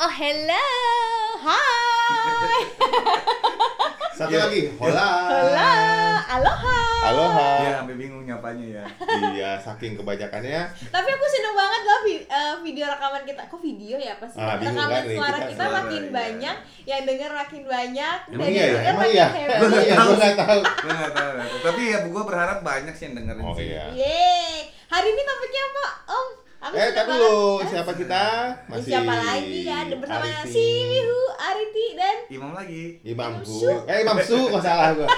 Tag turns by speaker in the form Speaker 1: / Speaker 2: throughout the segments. Speaker 1: Oh hello, hi,
Speaker 2: Satu
Speaker 3: Iya.
Speaker 2: lagi, hola.
Speaker 1: hello, aloha.
Speaker 2: Aloha.
Speaker 3: Iya, sampai bingung nyapanya ya.
Speaker 2: Iya, saking kebanyakannya.
Speaker 1: Tapi aku seneng banget loh vi- eh, video rekaman kita. Kok video ya pasti
Speaker 2: Ah, bingung
Speaker 1: rekaman
Speaker 2: kan nih,
Speaker 1: suara
Speaker 2: kita
Speaker 1: kita,
Speaker 3: suara,
Speaker 1: makin
Speaker 3: iya.
Speaker 1: banyak, yang denger makin banyak,
Speaker 3: Emang
Speaker 1: dan
Speaker 3: iya
Speaker 1: yang
Speaker 3: ya?
Speaker 1: denger
Speaker 2: Emang
Speaker 1: makin
Speaker 2: iya?
Speaker 1: happy.
Speaker 2: Emang iya? Gue nggak tahu.
Speaker 3: Gue nggak tahu. nggak tahu. Tapi ya gue berharap banyak sih yang dengerin
Speaker 2: Oh
Speaker 3: sih.
Speaker 2: iya.
Speaker 1: Yeay. Hari ini topiknya apa, Om? Aku
Speaker 2: Eh,
Speaker 1: seneng
Speaker 2: tapi
Speaker 1: banget.
Speaker 2: lu
Speaker 1: Eh,
Speaker 2: siapa kita?
Speaker 1: eh, siapa lagi ya? Ada Bersama
Speaker 2: Arifin.
Speaker 1: si Wihu, Ariti, dan
Speaker 3: Imam lagi.
Speaker 2: Imam Su.
Speaker 1: Su.
Speaker 2: Eh, Imam Su, nggak salah gua.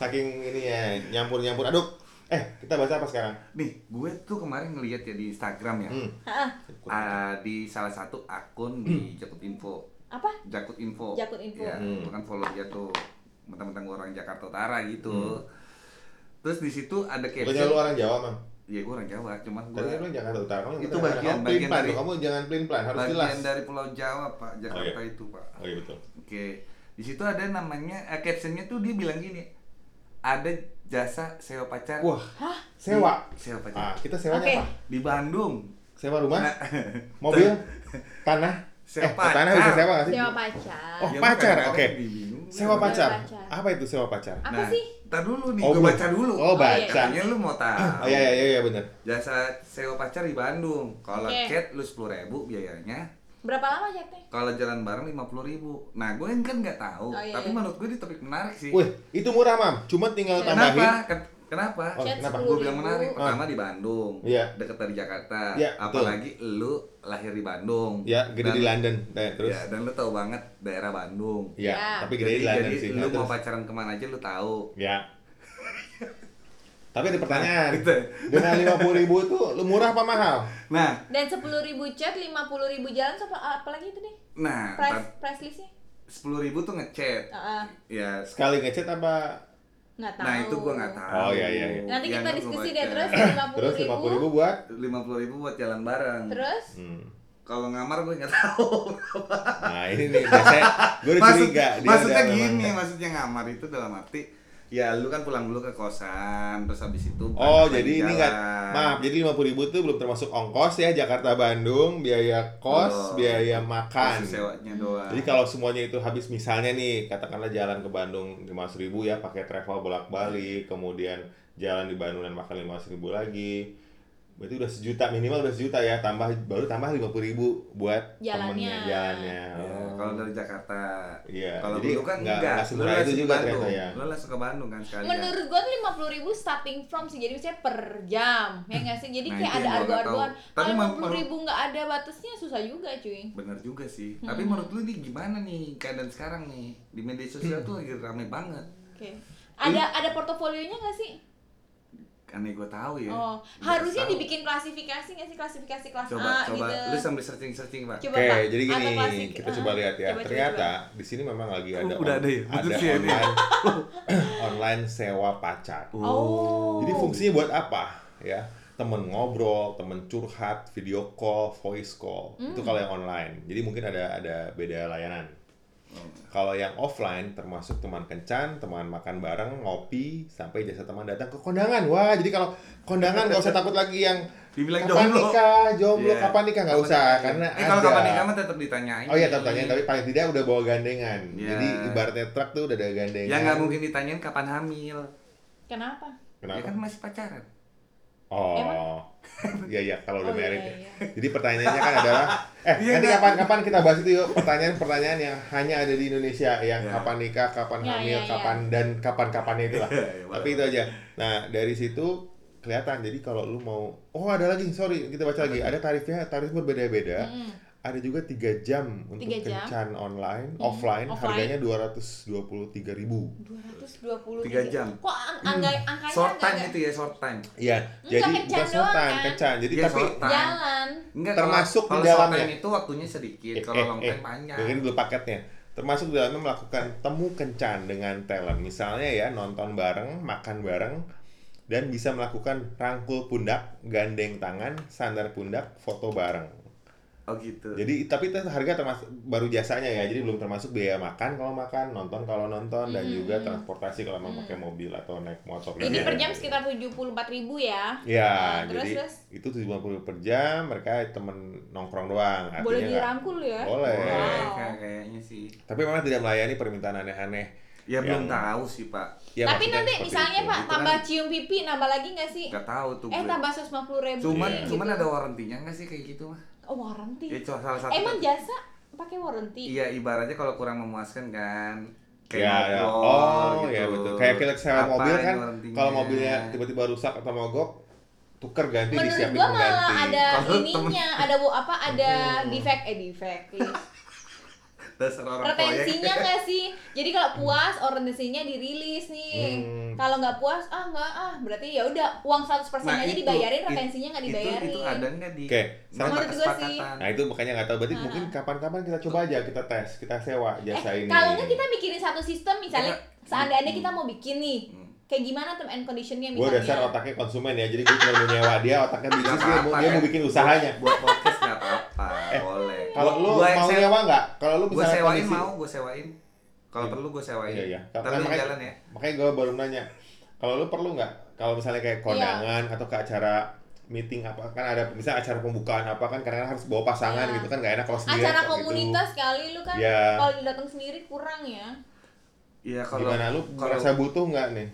Speaker 2: Saking ini ya, nyampur-nyampur. Aduh, eh kita bahas apa sekarang?
Speaker 3: Nih, gue tuh kemarin ngeliat ya di Instagram ya.
Speaker 2: Hmm.
Speaker 1: Ah,
Speaker 3: Ah, di salah satu akun di Jakut Info.
Speaker 1: apa?
Speaker 3: Jakut Info.
Speaker 1: Jakut Info.
Speaker 3: Ya,
Speaker 2: Hmm.
Speaker 3: gua kan follow dia tuh mentang-mentang gua orang Jakarta Utara gitu. Terus di situ ada
Speaker 2: Bukannya lu
Speaker 3: caption.
Speaker 2: orang Hmm. Jawa, Mang.
Speaker 3: Ya gue orang Jawa, cuman gue
Speaker 2: Tadi kan lu Jakarta Utara. Kamu
Speaker 3: Itu
Speaker 2: Jakarta Utara.
Speaker 3: bagian-
Speaker 2: Kamu
Speaker 3: bagian
Speaker 2: pelin-pelan
Speaker 3: dari-
Speaker 2: dong. Kamu jangan pelin-pelan, harus jelas.
Speaker 3: bagian dari Pulau Jawa Pak Jakarta
Speaker 2: Oh, iya.
Speaker 3: itu Pak.
Speaker 2: Oh iya betul.
Speaker 3: Oke, di situ ada namanya eh, captionnya tuh dia bilang gini, ada jasa sewa pacar.
Speaker 2: Wah, sewa.
Speaker 3: Sewa pacar.
Speaker 2: Ah, kita sewanya
Speaker 1: Oke.
Speaker 2: apa?
Speaker 3: Di Bandung.
Speaker 2: Sewa rumah,
Speaker 3: Iya. Nah,
Speaker 2: mobil, tanah. eh,
Speaker 3: Sewa
Speaker 2: tanah
Speaker 3: pacar.
Speaker 2: bisa sewa nggak sih?
Speaker 1: Siapa pacar?
Speaker 2: Oh,
Speaker 3: dia
Speaker 2: pacar,
Speaker 3: bukan orang,
Speaker 2: oke.
Speaker 3: dia Ya, bingung. gitu kan. Nah,
Speaker 2: Sewa pacar.
Speaker 1: pacar.
Speaker 2: Apa itu sewa pacar?
Speaker 1: Apa sih?
Speaker 3: Ntar dulu nih,
Speaker 2: Oh,
Speaker 3: gue
Speaker 2: belum.
Speaker 3: baca dulu.
Speaker 2: Oh,
Speaker 1: Oh, iya.
Speaker 2: baca.
Speaker 3: Katanya lu mau tahu.
Speaker 2: Oh iya iya iya iya, benar.
Speaker 3: Jasa sewa pacar di Bandung. Kalau
Speaker 1: Oke.
Speaker 3: cat lu 10.000 biayanya.
Speaker 1: Berapa lama chatnya?
Speaker 3: Kalau jalan bareng 50.000. Nah, gue kan nggak tahu,
Speaker 1: Oh, iya,
Speaker 3: tapi
Speaker 1: iya.
Speaker 3: menurut gue di topik menarik sih.
Speaker 2: Wih, itu murah, Mam. Cuma tinggal
Speaker 1: Kenapa?
Speaker 2: tambahin.
Speaker 3: Kenapa? Ken- Kenapa?
Speaker 2: Oh,
Speaker 1: Chat
Speaker 2: kenapa?
Speaker 3: gue
Speaker 1: 10.000.
Speaker 3: bilang menarik pertama di Bandung
Speaker 2: Iya.
Speaker 3: deket dari Jakarta
Speaker 2: Iya,
Speaker 3: apalagi lu lahir di Bandung
Speaker 2: Ya, gede
Speaker 3: Dan-
Speaker 2: di London. Nah, terus.
Speaker 3: ya, dan lu tahu banget daerah Bandung
Speaker 2: Ya,
Speaker 1: Ya.
Speaker 2: tapi gede di London
Speaker 3: jadi
Speaker 2: sih. Nah,
Speaker 3: lu mau
Speaker 2: terus.
Speaker 3: pacaran kemana aja lu tahu
Speaker 2: Ya. Tapi ada pertanyaan.
Speaker 3: Gitu.
Speaker 2: Dengan lima puluh ribu itu, lu murah apa mahal?
Speaker 3: nah
Speaker 1: Dan 10.000 chat, 50.000 jalan, apa apalagi itu deh?
Speaker 3: nah
Speaker 1: Price price listnya?
Speaker 3: sepuluh ribu tuh ngechat
Speaker 1: Heeh.
Speaker 3: ya
Speaker 2: Sekali ngechat apa?
Speaker 1: Nggak tahu.
Speaker 3: nah itu gua nggak tahu Ya,
Speaker 2: Oh, iya, iya, iya.
Speaker 1: Nanti kita diskusi deh terus 50.000.
Speaker 2: Terus lima puluh ribu buat?
Speaker 3: lima puluh ribu buat jalan bareng
Speaker 1: Terus
Speaker 2: Hmm.
Speaker 3: kalau ngamar gue nggak tahu
Speaker 2: Nah ini nih, biasanya gue udah
Speaker 3: Maksud-
Speaker 2: curiga. dia
Speaker 3: maksudnya
Speaker 2: udah
Speaker 3: gini,
Speaker 2: memang-
Speaker 3: maksudnya ngamar itu dalam arti ya lu kan pulang dulu ke kosan terus habis itu
Speaker 2: Oh
Speaker 3: berangkat
Speaker 2: jadi
Speaker 3: lagi
Speaker 2: ini nggak
Speaker 3: jalan.
Speaker 2: maaf jadi lima puluh ribu itu belum termasuk ongkos ya Jakarta Bandung biaya kos
Speaker 3: Belum.
Speaker 2: biaya
Speaker 3: Masih
Speaker 2: makan.
Speaker 3: sewanya doang.
Speaker 2: Jadi kalau semuanya itu habis misalnya nih katakanlah jalan ke Bandung lima ribu ya pakai travel bolak balik kemudian jalan di Bandung dan makan lima ribu lagi berarti udah sejuta minimal udah sejuta ya tambah baru tambah lima puluh ribu buat
Speaker 1: Jalannya.
Speaker 2: temennya, jalannya.
Speaker 3: Ya,
Speaker 2: Oh.
Speaker 3: kalau dari Jakarta.
Speaker 2: Iya.
Speaker 3: Kalau
Speaker 2: Jadi
Speaker 3: dulu kan
Speaker 2: nggak-
Speaker 3: enggak.
Speaker 2: nggak semurah itu
Speaker 3: langsung ke
Speaker 2: juga
Speaker 3: Bandung.
Speaker 2: ternyata ya.
Speaker 3: Lu langsung ke Bandung kan sekalian.
Speaker 1: Menurut gua tuh 50 ribu starting from sih, jadi misalnya per jam, ya nggak sih? Jadi
Speaker 3: Nah,
Speaker 1: kayak ada
Speaker 3: itu yang gua nggak
Speaker 1: argo-argoan.
Speaker 3: tahu. Tapi
Speaker 1: Kalau
Speaker 3: mem-
Speaker 1: 50 ribu nggak ada batasnya susah juga cuy.
Speaker 3: Bener juga sih.
Speaker 1: Hmm.
Speaker 3: Tapi menurut lu nih gimana nih keadaan sekarang nih di media sosial tuh lagi rame banget.
Speaker 1: Oke. Ada ada portofolionya nggak sih?
Speaker 3: Karena gue tahu ya.
Speaker 1: Oh,
Speaker 3: Gua
Speaker 1: harusnya
Speaker 3: tahu.
Speaker 1: dibikin klasifikasi nggak sih klasifikasi kelas A
Speaker 3: Coba coba
Speaker 1: gitu.
Speaker 3: lu sambil searching-searching, Pak.
Speaker 1: Coba
Speaker 2: Oke,
Speaker 1: Pak,
Speaker 2: jadi
Speaker 1: atau
Speaker 2: gini,
Speaker 1: klasik.
Speaker 2: kita
Speaker 1: Ah,
Speaker 2: coba lihat ya.
Speaker 1: coba, coba,
Speaker 2: Ternyata di sini memang lagi
Speaker 3: Oh,
Speaker 2: ada
Speaker 3: udah ada ya?
Speaker 2: ada
Speaker 3: Betul sih, ada ya.
Speaker 2: online online sewa pacar.
Speaker 1: coba. Oh.
Speaker 2: Jadi fungsinya buat apa? Ya, temen ngobrol, temen curhat, video call, voice call. Itu kalau yang online. Jadi mungkin ada ada beda layanan. Kalau yang offline termasuk teman kencan, teman makan bareng, ngopi, sampai jasa teman datang ke kondangan. Wah, jadi kalau kondangan nggak usah takut lagi yang
Speaker 3: Dibilang
Speaker 2: kapan
Speaker 3: jomblo.
Speaker 2: nikah, jomblo,
Speaker 3: Iya.
Speaker 2: kapan nikah nggak
Speaker 3: Kapan
Speaker 2: usah
Speaker 3: nikah?
Speaker 2: karena
Speaker 3: Eh, kalau
Speaker 2: ada.
Speaker 3: kapan nikah mah tetap ditanyain. Ya
Speaker 2: Oh iya, tetap tanya, tapi paling tidak udah bawa gandengan.
Speaker 3: Iya.
Speaker 2: Jadi ibaratnya truk tuh udah ada gandengan.
Speaker 3: Ya nggak mungkin ditanyain kapan hamil.
Speaker 1: Kenapa?
Speaker 3: Ya
Speaker 2: Kenapa?
Speaker 3: kan masih pacaran.
Speaker 2: Oh. Iya iya, kalau udah
Speaker 1: Oh,
Speaker 2: married.
Speaker 1: iya,
Speaker 2: ya.
Speaker 1: iya.
Speaker 2: Jadi pertanyaannya kan adalah eh
Speaker 3: Iya,
Speaker 2: nanti
Speaker 3: nggak?
Speaker 2: kapan-kapan kita bahas itu yuk pertanyaan-pertanyaan yang hanya ada di Indonesia yang
Speaker 3: Iya.
Speaker 2: kapan nikah, kapan
Speaker 1: Iya,
Speaker 2: hamil,
Speaker 1: iya, iya.
Speaker 2: kapan dan kapan-kapannya itulah.
Speaker 3: Iya, iya,
Speaker 2: Tapi itu aja. Nah, dari situ kelihatan. Jadi kalau lu mau oh ada lagi, sorry, kita baca lagi. Ada tarifnya, tarif berbeda-beda.
Speaker 1: Mm.
Speaker 2: Ada juga 3 jam untuk
Speaker 1: Tiga jam. Hmm.
Speaker 2: kencan online, offline,
Speaker 1: offline.
Speaker 2: harganya 223.000.
Speaker 1: 220
Speaker 3: Tiga jam.
Speaker 1: Kok ang
Speaker 2: Hmm.
Speaker 1: angga angkanya
Speaker 3: Short time
Speaker 1: agak-agak-
Speaker 3: itu ya, short time.
Speaker 2: Iya,
Speaker 1: Enggak,
Speaker 2: jadi
Speaker 1: Hmm, kencan
Speaker 2: bukan
Speaker 1: doang
Speaker 2: sultan,
Speaker 1: kan?
Speaker 2: kencan. Jadi
Speaker 3: Iya,
Speaker 2: tapi
Speaker 3: sultan.
Speaker 1: jalan.
Speaker 3: Enggak,
Speaker 2: Termasuk di
Speaker 3: kalau, kalau short
Speaker 2: dalamnya. Eh,
Speaker 3: time itu waktunya sedikit, Iya, kalau long time panjang.
Speaker 2: Dengerin dulu paketnya. Termasuk di dalamnya melakukan temu kencan dengan talent. Misalnya ya nonton bareng, makan bareng, dan bisa melakukan rangkul pundak, gandeng tangan, sandar pundak, foto bareng.
Speaker 3: Oh gitu.
Speaker 2: Jadi tapi itu harga termasuk baru jasanya ya. Jadi belum termasuk biaya makan kalau makan, nonton kalau nonton dan juga transportasi kalau memang pakai mobil atau naik motor.
Speaker 1: Hmm.
Speaker 2: Iya.
Speaker 1: Ini per jam sekitar 74.000 ya.
Speaker 2: Ya,
Speaker 1: Nah, terus,
Speaker 2: jadi
Speaker 1: terus?
Speaker 2: itu 70 per jam, mereka temen nongkrong doang. Artinya
Speaker 1: Boleh
Speaker 2: nggak-
Speaker 1: dirangkul ya.
Speaker 2: Iya. Boleh. Iya,
Speaker 1: Wow.
Speaker 3: Kayak- kayaknya sih.
Speaker 2: Tapi memang tidak melayani permintaan aneh-aneh.
Speaker 3: Ya
Speaker 2: Yang-
Speaker 3: belum tahu sih pak.
Speaker 2: Ya,
Speaker 1: Tapi
Speaker 2: maksudnya
Speaker 1: nanti
Speaker 2: seperti
Speaker 1: misalnya
Speaker 2: itu.
Speaker 1: Pak
Speaker 3: Itu
Speaker 1: tambah
Speaker 3: kan-
Speaker 1: cium pipi nambah lagi nggak sih?
Speaker 3: Gak tahu tuh
Speaker 1: Eh
Speaker 3: gue.
Speaker 1: tambah 150 ribu. Gitu.
Speaker 3: Cuman
Speaker 2: Iya.
Speaker 3: cuman ada warantinya nggak sih kayak gitu mah?
Speaker 1: oh, warranty.
Speaker 3: Ya cuma salah satu.
Speaker 1: Emang jasa pakai warranty?
Speaker 3: Iya ibaratnya kalau kurang memuaskan kan. gitu.
Speaker 2: ya, ya. Oh, ya betul. Kayak kita sewa
Speaker 3: Apa
Speaker 2: mobil
Speaker 3: ini
Speaker 2: kan,
Speaker 3: warantinya?
Speaker 2: kalau mobilnya tiba-tiba rusak atau mogok, tuker ganti
Speaker 1: Menurut
Speaker 2: disiapin
Speaker 1: gua malah
Speaker 2: pengganti.
Speaker 1: ada
Speaker 3: Kalau temen-
Speaker 1: ininya, ada wo- apa ada defect eh defect.
Speaker 3: dasar orang
Speaker 1: Retensinya
Speaker 3: proyek. Hmm.
Speaker 1: nggak sih? Jadi kalau puas orientasinya dirilis nih.
Speaker 2: Hmm.
Speaker 1: Kalau nggak puas ah nggak ah berarti ya udah uang 100% aja
Speaker 3: Nah, itu-
Speaker 1: dibayarin
Speaker 3: it-
Speaker 1: retensinya nggak dibayarin.
Speaker 3: Itu, itu ada nggak di
Speaker 2: Oke,
Speaker 3: dalam
Speaker 1: menurut gua sih.
Speaker 3: kesepakatan?
Speaker 2: Nah itu makanya nggak tahu. Berarti mungkin kapan-kapan kita coba aja kita tes, kita sewa jasa
Speaker 1: eh,
Speaker 2: ini.
Speaker 1: kalau nggak kita mikirin satu sistem misalnya
Speaker 3: Kita-
Speaker 1: seandainya kita mau bikin nih
Speaker 3: Iya. Hmm.
Speaker 1: kayak gimana term and conditionnya
Speaker 2: Gue
Speaker 1: misalnya
Speaker 2: dasar otaknya konsumen ya, jadi gue cuma mau nyewa dia otaknya bisnis dia, mau,
Speaker 3: apa-apa,
Speaker 2: dia mau
Speaker 3: kan?
Speaker 2: bikin usahanya.
Speaker 3: Buat podcast nggak apa-apa, boleh.
Speaker 2: Eh, Kalau lu
Speaker 3: Gua
Speaker 2: mau
Speaker 3: sewa-
Speaker 2: nyewa nggak? Kalau lu
Speaker 3: gue
Speaker 2: misalnya
Speaker 3: sewain
Speaker 2: kondisi-
Speaker 3: mau, gue sewain. Kalau
Speaker 2: Iya.
Speaker 3: perlu gue sewain.
Speaker 2: Iya iya.
Speaker 3: Tapi
Speaker 2: makanya,
Speaker 3: jalan ya.
Speaker 2: Makanya gue baru nanya, kalau lu perlu nggak? Kalau misalnya kayak
Speaker 1: Iya.
Speaker 2: kondangan atau ke acara meeting apa kan ada misalnya acara pembukaan apa kan karena harus bawa pasangan
Speaker 1: Iya.
Speaker 2: gitu kan nggak enak kalau sendiri
Speaker 1: acara komunitas kali lu kan
Speaker 2: Iya.
Speaker 1: kalau datang sendiri kurang ya
Speaker 3: Iya
Speaker 2: Gitu.
Speaker 3: kalau
Speaker 2: Gimana lu
Speaker 3: kalau
Speaker 2: merasa butuh nggak nih?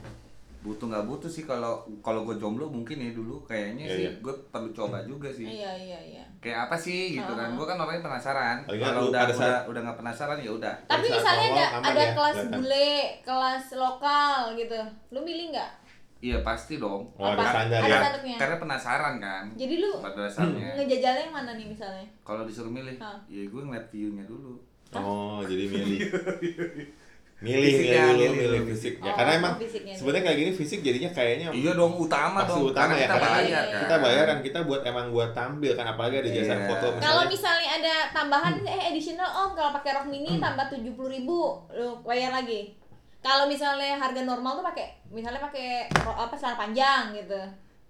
Speaker 3: butuh nggak butuh sih kalau kalau gue jomblo mungkin ya dulu kayaknya
Speaker 2: Iya,
Speaker 3: sih
Speaker 2: iya.
Speaker 3: gue perlu coba juga sih.
Speaker 1: iya Oh. iya iya
Speaker 3: Kayak apa sih gitu kan? Gue kan orangnya penasaran.
Speaker 2: Oh, iya, lu
Speaker 3: Kalau udah
Speaker 2: pada
Speaker 3: udah
Speaker 2: saat-
Speaker 3: udah nggak penasaran ya udah.
Speaker 1: tapi
Speaker 2: saat
Speaker 1: misalnya
Speaker 2: awal
Speaker 1: ada
Speaker 2: aman
Speaker 1: ada
Speaker 2: ya,
Speaker 1: kelas
Speaker 2: kelihatan.
Speaker 1: bule kelas lokal gitu lu milih nggak
Speaker 3: Iya pasti dong.
Speaker 2: Oh, ada
Speaker 1: Apa?
Speaker 2: standar
Speaker 1: Ada
Speaker 2: ya.
Speaker 1: standarnya.
Speaker 3: Karena penasaran kan.
Speaker 1: jadi lu
Speaker 3: Pada dasarnya.
Speaker 1: ngejajalnya yang mana nih misalnya
Speaker 3: Kalau disuruh milih,
Speaker 1: Hah.
Speaker 3: ya gue ngeliat view-nya dulu.
Speaker 2: Oh, jadi milih. milih, milih,
Speaker 3: Fisiknya,
Speaker 2: dulu,
Speaker 3: milih
Speaker 2: milih
Speaker 3: dulu.
Speaker 2: fisiknya.
Speaker 1: Oh,
Speaker 2: Ya, Karena emang
Speaker 1: fisiknya dulu.
Speaker 2: sebenarnya kayak gini fisik jadinya kayaknya
Speaker 3: Iya dong utama
Speaker 2: Ya, pasti
Speaker 3: dong.
Speaker 2: utama
Speaker 3: karena
Speaker 2: ya
Speaker 3: kita
Speaker 2: karena
Speaker 1: Iya,
Speaker 3: bayar kan.
Speaker 2: kita bayaran kita buat emang buat tampil kan apalagi ada jasa
Speaker 3: Iya.
Speaker 2: foto misalnya.
Speaker 1: kalau misalnya ada tambahan eh additional om kalau pakai rok mini tambah tujuh puluh ribu lu bayar lagi kalau misalnya harga normal tuh pakai misalnya pakai ro- apa celana panjang gitu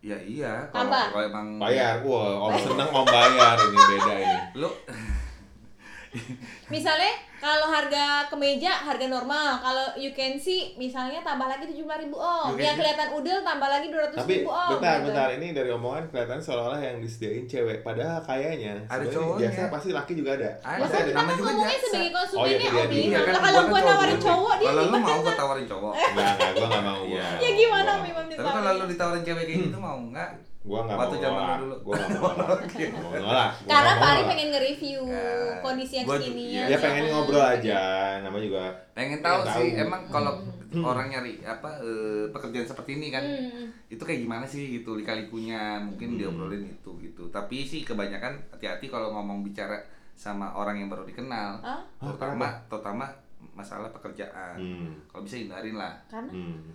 Speaker 3: Ya iya. Kalau
Speaker 1: Tambah.
Speaker 3: kalau emang
Speaker 2: bayar, wah om seneng om bayar ini beda ini.
Speaker 3: Lu
Speaker 1: misalnya kalau harga kemeja harga normal kalau you can see misalnya tambah lagi tujuh ribu om
Speaker 3: You can
Speaker 1: yang
Speaker 3: see.
Speaker 1: kelihatan udel tambah lagi dua ratus
Speaker 2: Tapi
Speaker 1: ribu om
Speaker 2: bentar,
Speaker 1: gitu.
Speaker 2: bentar ini dari omongan kelihatan seolah-olah yang disediain cewek. Padahal kayaknya
Speaker 3: Ada
Speaker 2: sebenarnya
Speaker 3: cowoknya.
Speaker 2: Biasanya pasti laki juga ada.
Speaker 3: Ada.
Speaker 2: Pasti
Speaker 1: Masa
Speaker 2: ada.
Speaker 1: kita
Speaker 3: Nama
Speaker 1: kan
Speaker 3: juga
Speaker 1: ngomongnya
Speaker 3: jasa.
Speaker 1: sebagai
Speaker 2: Oh, iya, iya,
Speaker 1: konsumennya oh,
Speaker 2: iya.
Speaker 1: bilang.
Speaker 2: Iya,
Speaker 1: Nah, kalau
Speaker 3: kan
Speaker 1: gua
Speaker 3: cowok,
Speaker 1: nawarin
Speaker 3: gua-
Speaker 1: cowok dia
Speaker 3: Kalau lu
Speaker 1: gimana? Eh,
Speaker 3: mau gue tawarin cowok.
Speaker 2: Enggak, enggak, gua enggak mau. Gua.
Speaker 3: Iya.
Speaker 1: ya gimana
Speaker 2: Gua-
Speaker 1: Mimam
Speaker 3: Tapi kalau lu ditawarin cewek kayak
Speaker 2: Hmm.
Speaker 3: gitu mau nggak?
Speaker 2: Gua enggak mau.
Speaker 3: Waktu zaman
Speaker 2: nolak.
Speaker 3: dulu.
Speaker 2: Gua enggak mau. nolak.
Speaker 3: Oke.
Speaker 2: Gua mau nolak. Iya, Gua Iya.
Speaker 1: karena
Speaker 2: nggak
Speaker 1: Pak
Speaker 2: mau
Speaker 1: Ari
Speaker 2: nolak.
Speaker 1: pengen nge-review
Speaker 3: Nah,
Speaker 1: kondisi yang
Speaker 3: gua-
Speaker 1: kekinian
Speaker 2: Dia
Speaker 3: Iya.
Speaker 2: pengen
Speaker 1: Jangan.
Speaker 2: ngobrol aja, namanya juga
Speaker 3: Pengen tahu
Speaker 2: Pengen
Speaker 3: sih
Speaker 2: tahu. Hmm.
Speaker 3: emang kalau orang nyari apa eh, pekerjaan seperti ini kan
Speaker 1: Hmm.
Speaker 3: itu kayak gimana sih gitu lika-likunya mungkin
Speaker 2: Hmm.
Speaker 3: diobrolin itu gitu tapi sih kebanyakan hati-hati kalau ngomong bicara sama orang yang baru dikenal
Speaker 1: Hah?
Speaker 3: terutama terutama masalah
Speaker 2: Ah,
Speaker 3: pekerjaan
Speaker 2: Hmm.
Speaker 3: kalau bisa hindarin lah
Speaker 1: karena
Speaker 2: hmm.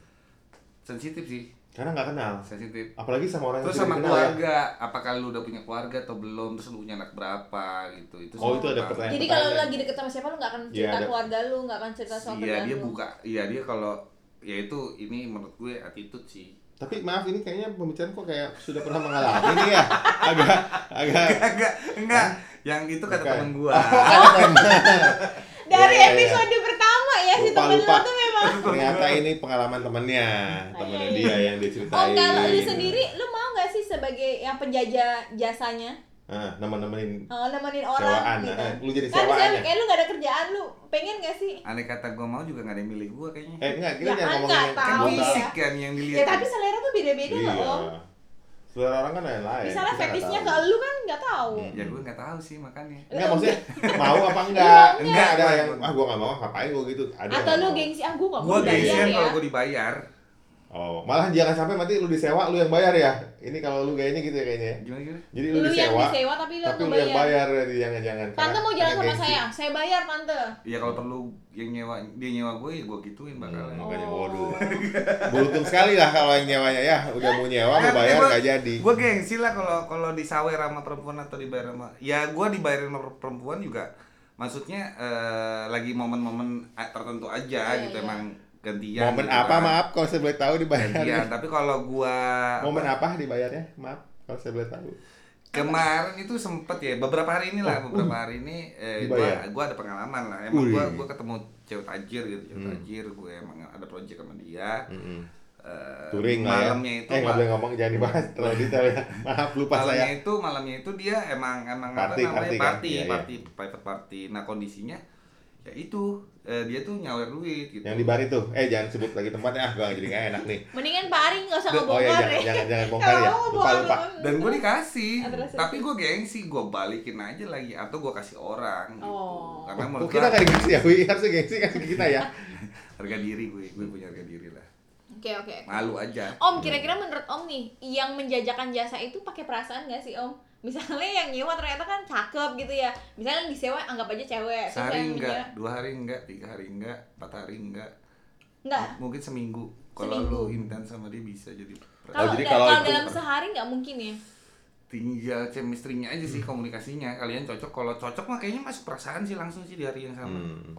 Speaker 3: sensitif sih
Speaker 2: Karena enggak kenal.
Speaker 3: sensitif
Speaker 2: Apalagi sama orang yang
Speaker 3: terus
Speaker 2: tidak
Speaker 3: sama
Speaker 2: Ah. dikenal ya.
Speaker 3: keluarga apakah lu udah punya keluarga atau belum terus lu punya anak berapa gitu itu
Speaker 2: Oh,
Speaker 3: semua
Speaker 2: itu ada
Speaker 3: tentang-
Speaker 2: pertanyaan.
Speaker 1: jadi kalau lu lagi deket sama siapa lu nggak akan
Speaker 2: Iya,
Speaker 1: cerita
Speaker 2: ada-
Speaker 1: keluarga lu nggak akan cerita soal
Speaker 3: iya
Speaker 1: kerjaan
Speaker 3: dia
Speaker 1: lu.
Speaker 3: buka iya dia kalau ya itu ini menurut gue attitude sih
Speaker 2: Tapi maaf ini kayaknya pembicaraan kok kayak sudah pernah mengalami ini ya. Agak agak
Speaker 3: enggak enggak yang itu kata
Speaker 2: Bukan.
Speaker 3: temen gua
Speaker 1: dari
Speaker 2: Iya, iya, iya.
Speaker 1: episode pertama ya si
Speaker 2: Lupa,
Speaker 1: temen lu
Speaker 2: lupa.
Speaker 1: tuh memang
Speaker 2: ternyata ini pengalaman temennya, temennya
Speaker 1: Iya,
Speaker 2: dia
Speaker 1: iya.
Speaker 2: yang
Speaker 1: oh
Speaker 2: diceritain.
Speaker 1: kalau lu sendiri lu mau nggak sih sebagai yang penjajah jasanya
Speaker 2: Ah, nemen-nemenin
Speaker 1: Eh, nemenin
Speaker 2: Sewaan,
Speaker 1: orang gitu
Speaker 2: eh, lu jadi
Speaker 1: kan
Speaker 2: sewaan
Speaker 1: misalnya
Speaker 2: ya?
Speaker 1: kayak lu nggak ada kerjaan lu pengen nggak sih
Speaker 3: aneh kata gua mau juga nggak ada yang milih gua kayaknya
Speaker 2: Eh enggak, kita
Speaker 1: Ya,
Speaker 2: jangan ngomongin
Speaker 1: enggak
Speaker 2: yang
Speaker 1: tahu
Speaker 3: kan
Speaker 1: Tahu
Speaker 2: enggak.
Speaker 1: ya.
Speaker 3: fisik kan yang dilihat
Speaker 1: ya tapi selera tuh beda-beda
Speaker 2: Iya.
Speaker 1: loh om
Speaker 2: Selera orang kan lain-lain.
Speaker 1: misalnya
Speaker 2: kita nggak
Speaker 1: fetishnya
Speaker 2: tahu. Hmm.
Speaker 1: ke lu kan nggak tahu
Speaker 3: ya gue nggak tahu sih makanya
Speaker 2: Enggak maksudnya mau apa enggak?
Speaker 1: Iya,
Speaker 2: Enggak ada
Speaker 3: enggak.
Speaker 2: yang ah gua enggak mau ngapain gua gitu. Ada
Speaker 1: atau
Speaker 2: yang
Speaker 1: lu
Speaker 2: mau.
Speaker 1: gengsi ah gue nggak
Speaker 3: gue
Speaker 1: mau bayar
Speaker 2: kan
Speaker 3: gengsian
Speaker 1: ya
Speaker 3: kalau gue dibayar
Speaker 2: Oh, malah jangan sampai nanti lu disewa lu yang bayar ya. Ini kalau lu gayanya gitu ya kayaknya.
Speaker 3: gimana gimana
Speaker 2: Jadi lu,
Speaker 1: lu yang
Speaker 2: disewa,
Speaker 1: disewa tapi lu
Speaker 2: tapi
Speaker 1: yang
Speaker 2: lu yang
Speaker 1: bayar
Speaker 2: bayar jadi jangan-jangan.
Speaker 1: tante
Speaker 2: Karena-
Speaker 1: mau jalan
Speaker 2: karena
Speaker 1: sama
Speaker 2: gengsi.
Speaker 1: saya saya bayar tante
Speaker 3: ya kalau perlu yang nyewa dia nyewa gue ya gue gituin bakalan
Speaker 2: Hmm. Makanya,
Speaker 1: Oh.
Speaker 2: waduh. Beruntung sekali lah kalau yang nyewanya ya udah mau nyewa
Speaker 3: Eh,
Speaker 2: mau bayar nggak jadi.
Speaker 3: gue gengsi lah kalau kalau disawer sama perempuan atau dibayar sama ya gue dibayar sama perempuan juga maksudnya eh, lagi momen-momen eh, tertentu aja
Speaker 1: Iya, iya.
Speaker 3: gitu emang gantian
Speaker 2: Momen
Speaker 3: gitu
Speaker 2: apa
Speaker 3: kan.
Speaker 2: maaf kalau saya
Speaker 3: Iya.
Speaker 2: boleh tahu dibayar.
Speaker 3: gantian tapi kalau gue
Speaker 2: Momen apa dibayarnya? Maaf kalau saya boleh tahu.
Speaker 3: Kemarin itu sempet ya, beberapa hari ini
Speaker 2: Oh,
Speaker 3: lah, beberapa hari ini eh,
Speaker 2: Dibayar.
Speaker 3: gua, gua ada pengalaman lah. Emang
Speaker 2: uh. Wih.
Speaker 3: gua,
Speaker 2: Hmm.
Speaker 3: gua ketemu cewek tajir gitu, cewek tajir, gue emang ada project sama dia.
Speaker 2: Mm-mm.
Speaker 3: Eh,
Speaker 2: touring lah ya.
Speaker 3: malamnya itu
Speaker 2: eh nggak
Speaker 3: ma-
Speaker 2: boleh ngomong jangan dibahas terlalu detail ya. Maaf lupa
Speaker 3: malamnya
Speaker 2: saya.
Speaker 3: itu malamnya itu dia emang emang
Speaker 2: Party,
Speaker 3: apa
Speaker 2: party
Speaker 3: namanya party
Speaker 2: kan?
Speaker 3: party,
Speaker 2: Iya, iya.
Speaker 3: private party. Nah kondisinya ya itu eh, dia tuh nyawer duit gitu.
Speaker 2: Yang di bar itu, eh jangan sebut lagi tempatnya ah gua jadi nggak enak nih.
Speaker 1: Mendingan Pak Ari nggak usah
Speaker 2: Duh, oh
Speaker 1: ngebongkar
Speaker 2: ya
Speaker 1: deh.
Speaker 2: jangan jangan jangan bongkar
Speaker 1: Kalau
Speaker 2: ya.
Speaker 1: mau
Speaker 2: Lupa
Speaker 1: bongkar,
Speaker 2: lupa.
Speaker 1: bongkar.
Speaker 3: dan gue dikasih
Speaker 1: Ah, terus, terus.
Speaker 3: tapi gue gengsi gue balikin aja lagi atau gue kasih orang gitu
Speaker 1: Oh.
Speaker 3: karena
Speaker 2: Kok
Speaker 3: menurut
Speaker 2: kita
Speaker 3: gua
Speaker 2: nggak gengsi ya? Wi harusnya gengsi kan kita ya.
Speaker 3: harga diri gue gue punya harga diri lah
Speaker 1: Oke oke. oke.
Speaker 3: malu aja
Speaker 1: Om kira-kira menurut Om nih yang menjajakan jasa itu pakai perasaan nggak sih Om? Misalnya yang nyewa ternyata kan cakep gitu ya. Misalnya yang disewa anggap aja cewek. Terus yang
Speaker 3: sehari
Speaker 1: dia-
Speaker 3: enggak dua hari enggak tiga hari enggak empat hari enggak
Speaker 1: Nggak.
Speaker 3: M- mungkin seminggu kalau
Speaker 1: Seminggu.
Speaker 3: lu intens sama dia bisa Oh, jadi
Speaker 1: Kalau
Speaker 2: jadi
Speaker 1: da-
Speaker 2: kalau
Speaker 1: kalau
Speaker 2: itu-
Speaker 1: dalam sehari nggak mungkin ya.
Speaker 3: tinggal chemistry-nya aja
Speaker 2: Hmm.
Speaker 3: sih komunikasinya kalian cocok kalau cocok mah kayaknya masuk perasaan sih langsung sih di hari yang sama
Speaker 2: Hmm.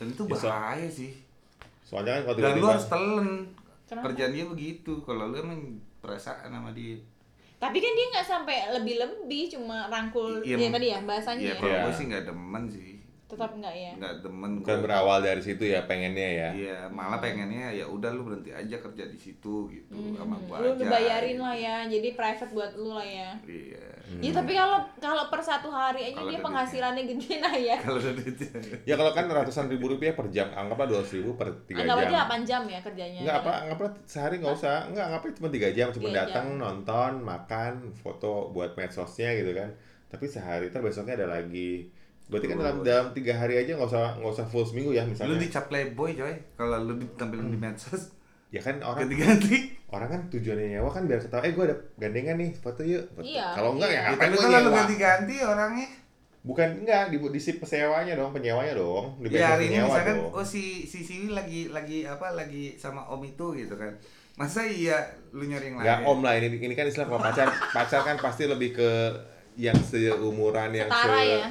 Speaker 3: dan itu
Speaker 2: Ya, so-
Speaker 3: bahaya sih
Speaker 2: Soalnya kan kalau
Speaker 3: dan lu
Speaker 2: tiba-tiba
Speaker 3: harus telen
Speaker 1: Kenapa?
Speaker 3: kerjaan dia begitu kalau lu emang perasaan sama dia
Speaker 1: Tapi kan dia nggak sampai lebih-lebih cuma rangkul
Speaker 3: Iya,
Speaker 1: ya
Speaker 3: Mam.
Speaker 1: tadi ya bahasanya
Speaker 3: Iya,
Speaker 1: ya.
Speaker 3: kalau
Speaker 2: Iya.
Speaker 3: gue sih nggak demen sih,
Speaker 1: Tetap nggak ya.
Speaker 3: nggak demen.
Speaker 2: bukan
Speaker 3: gua.
Speaker 2: berawal dari situ ya pengennya ya.
Speaker 3: Iya, malah pengennya ya udah lu berhenti aja kerja di situ gitu sama
Speaker 1: Hmm,
Speaker 3: gua
Speaker 1: Lu
Speaker 3: aja.
Speaker 1: dibayarin
Speaker 3: gitu.
Speaker 1: lah ya. Jadi private buat lu lah ya.
Speaker 3: Iya.
Speaker 1: Ya tapi kalau kalau per satu hari aja
Speaker 3: Kalau
Speaker 1: dia
Speaker 3: ada
Speaker 1: penghasilannya gede nah ya.
Speaker 3: Kalau ada duitnya.
Speaker 2: Ya kalau kan ratusan ribu rupiah per jam, anggaplah dua ribu per tiga
Speaker 1: Anggap
Speaker 2: jam.
Speaker 1: aja 8 jam ya kerjanya.
Speaker 2: Enggak apa,
Speaker 1: Dalam-
Speaker 2: anggaplah sehari nggak usah, enggak anggaplah cuma tiga jam, cuma
Speaker 1: Tiga
Speaker 2: datang nonton, makan, foto buat medsosnya gitu kan. Tapi sehari ter besoknya ada lagi. Berarti kan dalam dalam tiga hari aja nggak usah nggak usah full seminggu ya
Speaker 3: Lu
Speaker 2: misalnya.
Speaker 3: dicap playboy coy, kalau lu ditampilin di medsos
Speaker 2: Ya kan orang
Speaker 3: ganti-ganti.
Speaker 2: orang kan tujuannya nyewa kan biar ketawa, eh gue ada gandengan nih foto yuk. Foto.
Speaker 1: Iya,
Speaker 2: Kalau enggak
Speaker 1: iya.
Speaker 2: ya
Speaker 3: Ya,
Speaker 2: ngapain
Speaker 3: tapi
Speaker 2: gue
Speaker 3: kalau lu
Speaker 2: nyewa?
Speaker 3: ganti-ganti orangnya
Speaker 2: Bukan enggak di, di si pesewanya dong, penyewanya dong, di
Speaker 3: Ya hari ini
Speaker 2: penyewa
Speaker 3: misalkan
Speaker 2: dong.
Speaker 3: oh si si Siwi lagi lagi apa lagi sama Om itu gitu kan. Masa iya lu nyari yang lain?
Speaker 2: Nggak om lah ini ini kan istilah kalau pacar pacar kan pasti lebih ke yang seumuran yang
Speaker 1: Setara
Speaker 2: se
Speaker 1: ya.